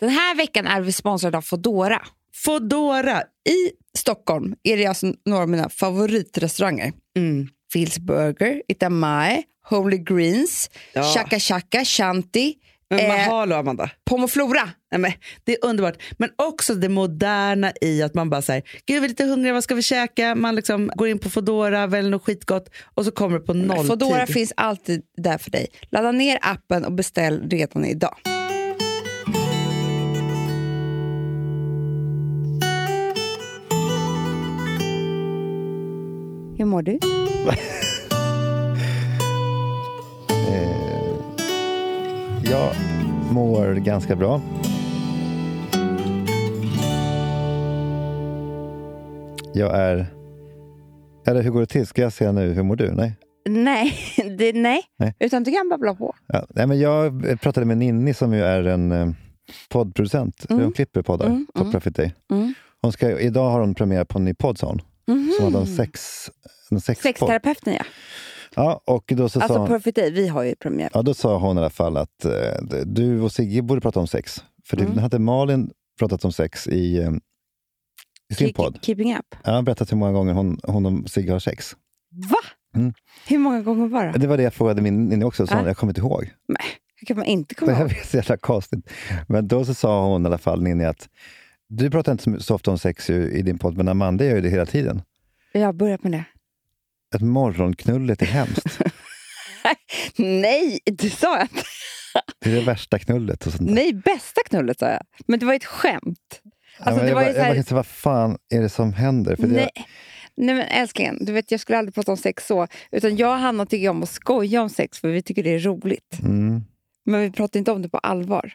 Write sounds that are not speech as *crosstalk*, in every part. Den här veckan är vi sponsrade av Fodora. Fodora i Stockholm är det alltså några av mina favoritrestauranger. Mm. Phil's Burger, Itamai, Holy Greens, Ja. Chaka Chaka, Shanti, Men eh, hallå Amanda. Pomoflora. Nej, men, det är underbart. Men också det moderna i att man bara säger, gud vi är lite hungriga, vad ska vi käka? Man liksom går in på Foodora, väljer något skitgott och så kommer det på nolltid. Fodora finns alltid där för dig. Ladda ner appen och beställ redan idag. Hur mår du? Eh, Jag mår ganska bra. Jag är... Eller hur går det till? Ska jag säga nu, hur mår du? Nej. Nej, *laughs* det, nej. Nej. utan du kan babbla på. Ja, nej men jag pratade med Ninni som ju är en eh, poddproducent. Mm. Hon klipper poddar, Mm, Top mm. Profit Day. Mm. Hon ska, idag har hon premiär på en ny podd, sa hon. Mhm. Som hade en sex... En sex podd. Sexterapeuten, ja. Ja, och då så sa Alltså hon, Perfect Day, vi har ju premiär. Ja, då sa hon i alla fall att eh, d- du och Sigge borde prata om sex. För det Mm. hade Malin pratat om sex i, eh, i sin Keep- podd. Keeping up. Ja, Hon har berättat hur många gånger hon, hon och Sigge har sex. Va? Mm. Hur många gånger var det? Det var det jag frågade min Ninni också, så Ja. hon, jag kommer inte ihåg. Hur kan man inte komma *laughs* Det här ihåg? blir så jävla konstigt. Men då så sa hon i alla fall, Ninni, att du pratar inte så- så ofta om sex ju, i din podd, men Amanda gör ju det hela tiden. Jag har börjat med det. Att morgonknullet är hemskt. *laughs* Nej, det sa jag inte. Det är det värsta knullet. Och sånt där. Nej, bästa knullet sa jag. Men det var ju ett skämt. Ja, alltså, men det jag var bara- ju så här- jag bara tänkte, vad fan är det som händer? För det, Nej. Nej men älsklingen, du vet jag skulle aldrig prata om sex så. Utan jag och Hanna tycker om att skoja om sex för vi tycker det är roligt. Mm. Men vi pratar inte om det på allvar.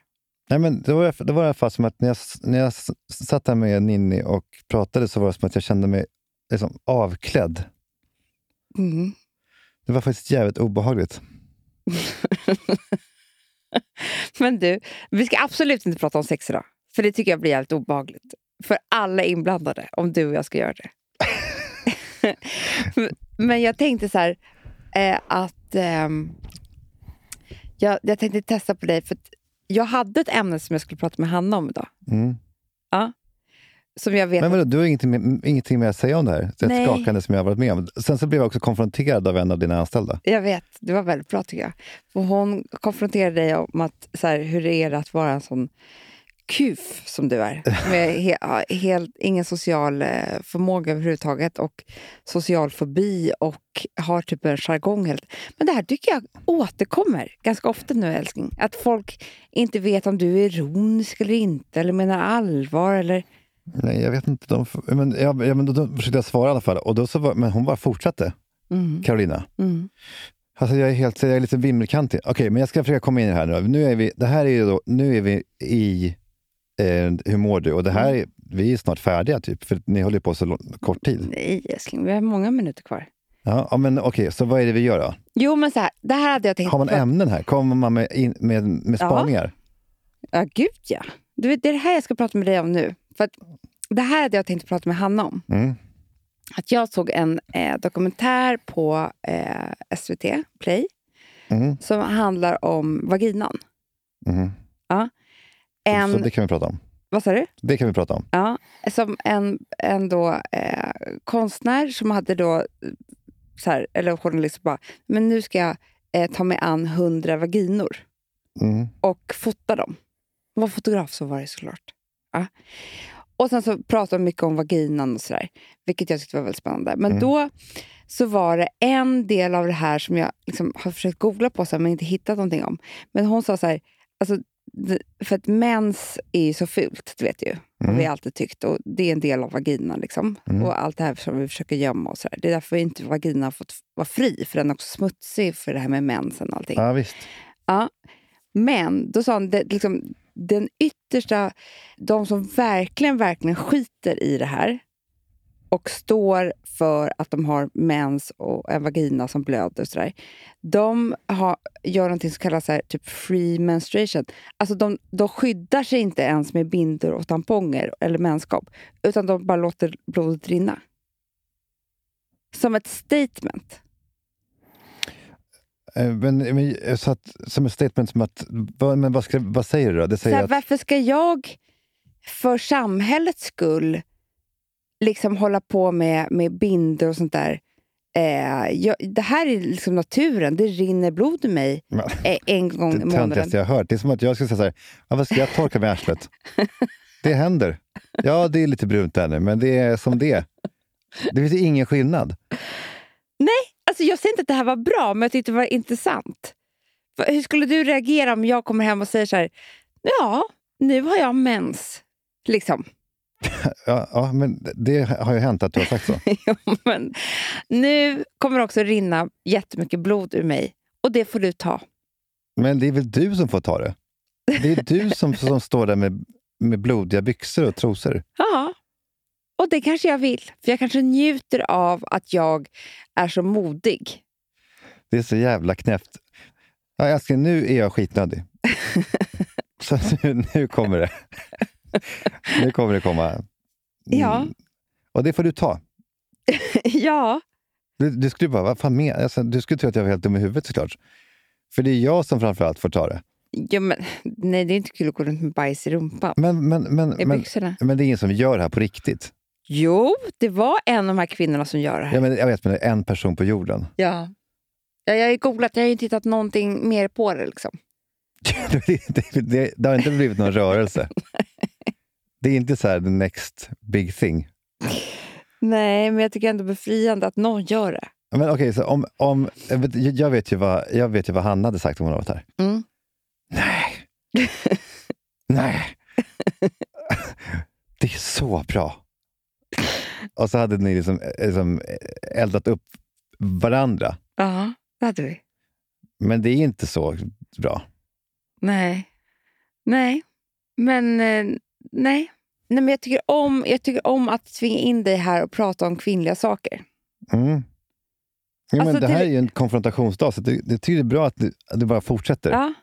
Nej, men det, var, det var i alla fall som att när jag, när jag s- satt där med Ninni och pratade så var det som att jag kände mig liksom avklädd. Mm. Det var faktiskt jävligt obehagligt. Men du, vi ska absolut inte prata om sex idag. För det tycker jag blir jävligt obehagligt. För alla är inblandade om du och jag ska göra *laughs* det. Men- Men jag tänkte så här eh, att ehm, jag, jag tänkte testa på dig. För att jag hade ett ämne som jag skulle prata med Hanna om idag. Mm. Som jag vet Men vadå, du har ingenting, med- ingenting mer att säga om det här? Det är Nej. ett skakande som jag har varit med om. Sen så blev jag också konfronterad av en av dina anställda. Jag vet, det var väldigt bra tycker jag. För hon konfronterade dig om att, så här, hur det är att vara en sån kuf som du är. Med he, ja, helt, ingen social eh, förmåga överhuvudtaget och social fobi och har typ en jargong. Helt. Men det här tycker jag återkommer ganska ofta nu älskling. Att folk inte vet om du är ironisk eller inte eller menar allvar eller... Nej, jag vet inte. De, men, jag, ja, men då, då försökte jag svara i alla fall. Och då så var, men hon bara fortsatte, Mm, Carolina. mm, Alltså jag är, helt, jag är lite vimmelkantig. Okej, men jag ska försöka komma in i det här nu. nu är vi, det här är ju då, nu är vi i eh, Hur mår du? Och det här, är- vi är snart färdiga, typ, för ni håller ju på så lång, kort tid. Nej älskling, vi har många minuter kvar. Ja, ja, men Okej, så vad är det vi gör då? Jo men så här, det här hade jag tänkt Har man på- ämnen här? Kommer man med, in, med, med Ja. spaningar? Ja, gud ja. Du vet, det är det här jag ska prata med dig om nu. För att det här hade jag tänkt prata med Hanna om. Mm. Att jag såg en eh, dokumentär på eh, SVT Play Mm. som handlar om vaginan. Mm. Så En, det kan vi prata om. Vad sa du? Det kan vi prata om. Ja, som en, en då, eh, konstnär som hade då, eh, så här, eller journalist, bara, men nu ska jag eh, ta mig an hundra vaginor. Mm. och fota dem. Hon var fotograf så var det såklart. Ja. Och sen så pratade de mycket om vaginan och sådär. Vilket jag tyckte var väldigt spännande. Men Mm. då så var det en del av det här som jag liksom har försökt googla på så här, men inte hittat någonting om. Men hon sa så här, alltså, d- för att mens är ju så fult, det vet du ju. Har vi Mm. alltid tyckt. Och det är en del av vaginan liksom. Mm. Och allt det här som vi försöker gömma och sådär. Det är därför inte vaginan har fått vara fri. För den är också smutsig för det här med mensen och allting. Ja, visst. Men då sa han, det, liksom, den yttersta, de som verkligen, verkligen skiter i det här och står för att de har mens och en vagina som blöder och sådär. De har, gör någonting som kallas så här, typ free menstruation. Alltså de, de skyddar sig inte ens med bindor och tamponger eller menskopp. Utan de bara låter blodet rinna. Som ett statement. Eh, Men, men, så att, som ett statement som att, vad, men vad, ska, vad säger du då? Det Så säger här, att, varför ska jag för samhällets skull liksom hålla på med, med binder och sånt där? Eh, jag, det här är liksom naturen, det rinner blod i mig Men- eh, en gång i *laughs* det månaden. töntigaste jag har hört. Det är som att jag skulle säga så här, "Ja, vad ska jag torka med arslet? *laughs* Det händer. Ja, det är lite brunt där nu, men det är som det är. Det finns ju ingen skillnad. Alltså, jag säger inte att det här var bra, men jag tyckte det var intressant. Va- Hur skulle du reagera om jag kommer hem och säger så här, ja, nu har jag mens. Liksom. *laughs* Ja, ja men det har ju hänt att du har sagt så. Ja, men nu kommer det också rinna jättemycket blod ur mig och det får du ta. Men det är väl du som får ta det? Det är du som, som står där med, med blodiga byxor och trosor. Ja. Och det kanske jag vill. För jag kanske njuter av att jag är så modig. Det är så jävla knäppt. Ja, älskling, nu är *laughs* jag skitnödig. Så att nu, nu kommer det. Nu kommer det komma. Mm. Ja. Och det får du ta. *laughs* ja. Du, du skulle bara, vad fan med? Alltså, du skulle tro att jag var helt dum i huvudet såklart. För det är jag som framförallt får ta det. ja men, nej, det är inte kul att gå runt med bajs i rumpan. Men, men, men, I men, byxorna. men det är ingen som gör det här på riktigt. Jo, det var en av de här kvinnorna som gör det här. Jag, men, jag vet, men det är en person på jorden. *laughs* Ja. Ja, jag har ju googlat, jag har ju inte hittat någonting mer på det. Liksom. det, det, det, det har inte blivit någon *laughs* rörelse. Det är inte så här the next big thing. Nej, men jag tycker ändå befriande att någon gör det. Men okej, så om, om, jag vet- jag, vet ju vad, jag vet ju vad Hanna hade sagt om hon hade varit här. Mm. Nej! *laughs* Nej! Det är så bra! Och så hade ni liksom, liksom eldat upp varandra. Ja, det hade vi. Men det är inte så bra. Nej. Nej. Men eh, nej. Nej, men jag tycker, om, jag tycker om att tvinga in dig här och prata om kvinnliga saker. Mm. Ja, Alltså, men det här till- är ju en konfrontationsdag, så det, det tyder bra att du, att du bara fortsätter. Ja.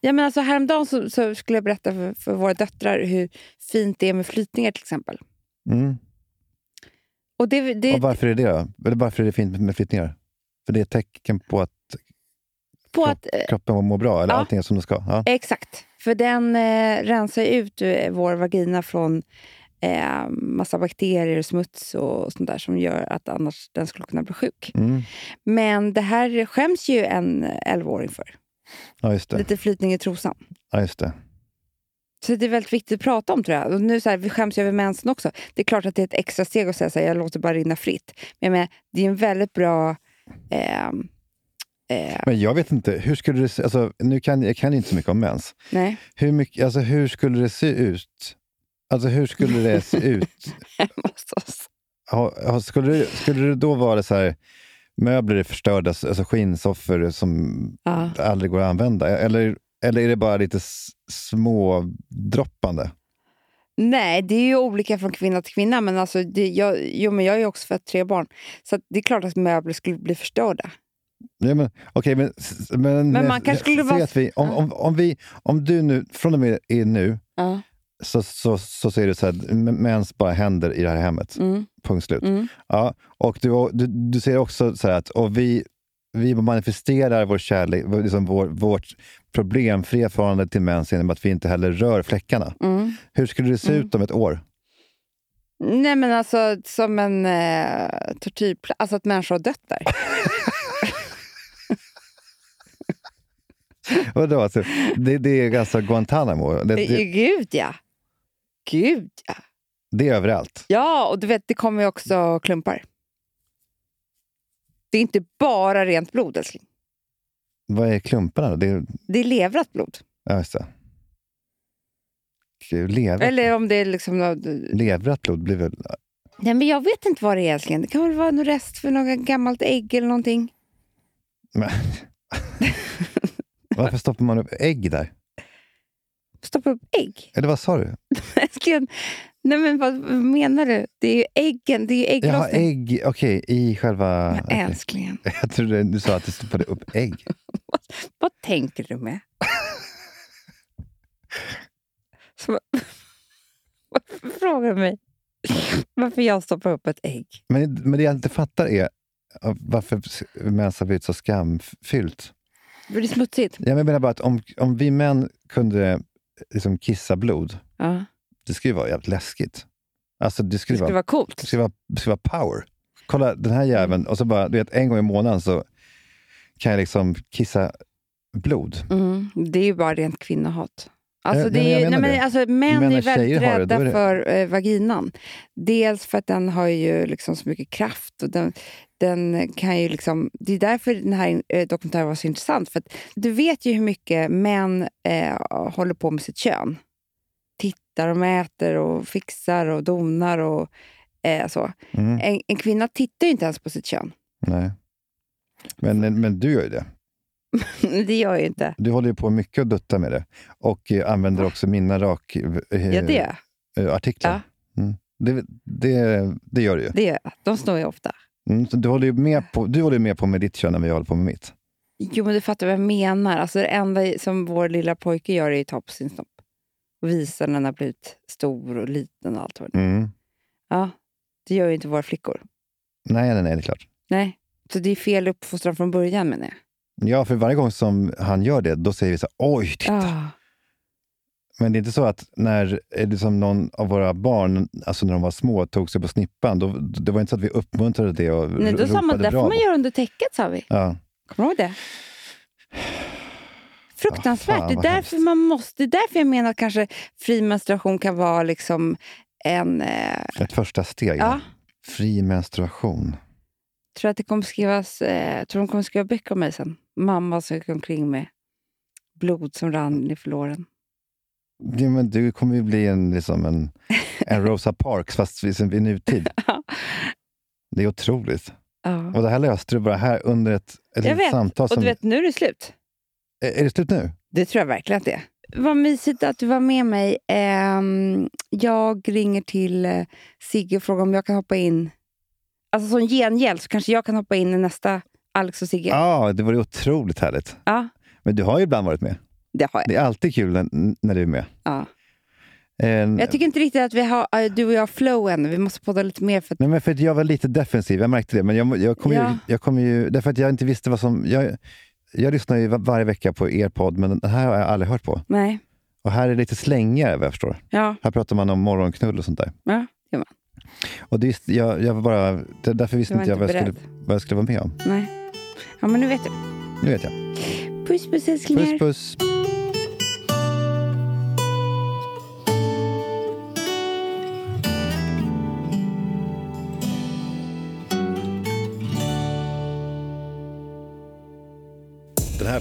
Ja, men alltså, häromdagen så, så skulle jag berätta för, för våra döttrar hur fint det är med flytningar till exempel. Mm. Och det, det Och varför är det då? Eller varför är det fint med flyttningar? För det är ett tecken på att på att, eh, kroppen mår bra, eller Ja. allting är som det ska. Ja. exakt, för den eh, rensar ju ut eh, vår vagina från eh, massa bakterier och smuts och sånt där som gör att annars den skulle kunna bli sjuk. Mm. Men det här skäms ju en 11-åring för. Ja, just det. Lite flytning i trosan. Ja, just det. Så det är väldigt viktigt att prata om tror jag. Och nu så här, vi skäms ju över mensen också. Det är klart att det är ett extra steg att säga så här, jag låter bara rinna fritt. Men jag menar, det är en väldigt bra... ehm, eh, Men jag vet inte, hur skulle det se alltså, nu kan, Jag kan ju inte så mycket om mens. nej. Hur, mycket, alltså, hur skulle det se ut? Alltså hur skulle *laughs* det se ut? hos oss. Ha, ha, skulle, det, skulle det då vara så här, möbler är förstörda, alltså skinnsoffor som Ja. aldrig går att använda? Eller, eller är det bara lite s- smådroppande? Nej, det är ju olika från kvinna till kvinna. Men alltså, det, jag, jo, men jag är ju också fött tre barn. Så att det är klart att möbler skulle bli förstörda. Ja, men, okej, men, s- men, Men eh, man kanske skulle säg vara- att vi, om, om, om, vi, om du nu, från och med är nu, Ja. så, så, så säger du så här, m- mens bara händer i det här hemmet. Mm, Punkt slut. mm. Ja, och du, du, du säger också så här att och vi, vi manifesterar vår kärlek, vår- liksom vår, vårt problemfria förhållande till mens genom att vi inte heller rör fläckarna. Mm. Hur skulle det se Mm. ut om ett år? Nej, men alltså som en eh, tortyrplats. Alltså att människor har dött där. Vadå, alltså, det, det är alltså Guantanamo. Det, det, Gud, ja. Gud, ja. det är överallt. Ja, och du vet, det kommer ju också klumpar. Det är inte bara rent blod, älskling. Vad är klumparna då? Det är, Det är leverat blod. ja, just det. Gud, lever, Eller om det är liksom... nå- leverat blod *laughs* blir väl... *laughs* Nej, men jag vet inte vad det är, älskling. Det kan väl vara någon rest för något gammalt ägg eller någonting. Men, varför stoppar man upp ägg där? Stoppa upp ägg. *laughs* Eller vad sa du? Älskling, nej men vad vad menar du? Det är ju äggen, det är ju Jaha, ägglossning. ägg. Okej, i själva... Men okej. Älsklingen, *laughs* Jag trodde du sa att du stoppade upp ägg. vad tänker du *laughs* med? Som, *laughs* varför frågar du mig varför jag stoppar upp ett ägg? Men, men det jag inte fattar är varför mens har blivit så skamfyllt. För det är smutsigt. Jag menar bara att om, om vi män kunde liksom kissa blod, Ja. det skulle ju vara jävligt läskigt. Alltså det Det skulle, skulle vara, vara coolt. det skulle vara, det skulle vara power. Kolla den här jäveln, och så bara, du vet, en gång i månaden så kan jag liksom kissa blod. Mm, det är ju bara rent kvinnohat. Alltså, Ja, det Eh, är, ju- nej, men jag menar men, det. alltså, män Men är när väldigt tjejer har det, då rädda är det- för eh, vaginan. Dels för att den har ju liksom så mycket kraft. Och den, den kan ju liksom, det är därför den här eh, dokumentären var så intressant. För att du vet ju hur mycket män eh, håller på med sitt kön. Tittar och mäter och fixar och donar och eh, så. Mm, En, en kvinna tittar ju inte ens på sitt kön. *laughs* nej. Men, men du gör ju det. det gör ju inte. Du håller ju på mycket och duttar med det. Och eh, använder också mina rak, eh, Ja, det gör jag. eh, artiklar. Mm. Det, det, det gör du ju. Det gör jag. De snor jag ofta. Mm, så du håller ju med på, du håller ju med på med ditt kön än vad jag håller på med mitt. Jo, men du fattar vad jag menar. Alltså, det enda som vår lilla pojke gör är att ta på sin snopp. Och visa när den har blivit stor och liten och allt vad det är. Mm. Ja, det gör ju inte våra flickor. Nej, nej, nej, det är klart. Nej, så det är fel uppfostran från början menar jag. Ja, för varje gång som han gör det, då säger vi så här, oj, titta. Ah, Men det är inte så att när eh, liksom någon av våra barn, alltså när de var små, tog sig på snippan, då, det var inte så att vi uppmuntrade det och nej, då sa man, ropade där får bravo. man göra under täcket, sa vi. Ja, Kommer du ihåg det? Fruktansvärt. Ja, Ah, fan, det, vad är därför hemskt. man måste, det är därför jag menar att kanske fri menstruation kan vara liksom en... Eh, ett första steg. ja. Fri menstruation. tror att det kommer skrivas, eh, tror de kommer skriva böcker om mig sen. Mamma som gick omkring med blod som rann i låren. Ja, men du kommer ju bli en, liksom en, en Rosa Parks, fast liksom i nutid. *laughs* Ja. Det är otroligt. Ja. Och det här löste du bara här under ett, ett Jag litet vet. samtal. Och som- du vet, nu är det slut. Är är det slut nu? Det tror jag verkligen att det är. Vad mysigt att du var med mig. Ehm, jag ringer till eh, Sigge och frågar om jag kan hoppa in. Alltså som gengäld så kanske jag kan hoppa in i nästa Alex och Sigge. Ja, Ja, det var ju otroligt härligt. Men du har ju ibland varit med. det har jag. Det är alltid kul när, när du är med. Ja. Eh, Jag tycker inte riktigt att vi har, eh, du och jag har flow än. Vi måste podda lite mer. För att, Nej, men för att jag var lite defensiv, jag märkte det. Men jag, jag kommer Ja. ju, jag kommer ju... Därför att jag inte visste vad som... Jag, jag lyssnar ju var- varje vecka på er podd, men den här har jag aldrig hört på. nej. Och här är det lite slängigare, vad jag förstår. Ja, Här pratar man om morgonknull och sånt där. ja, det var, Och det, visste- jag, jag var bara, det- därför visste du var inte jag inte vad jag, beredd. skulle, vad jag skulle vara med om. Nej. Ja, men nu vet du. Nu vet jag. Puss, puss älsklingar. Puss, puss. Den här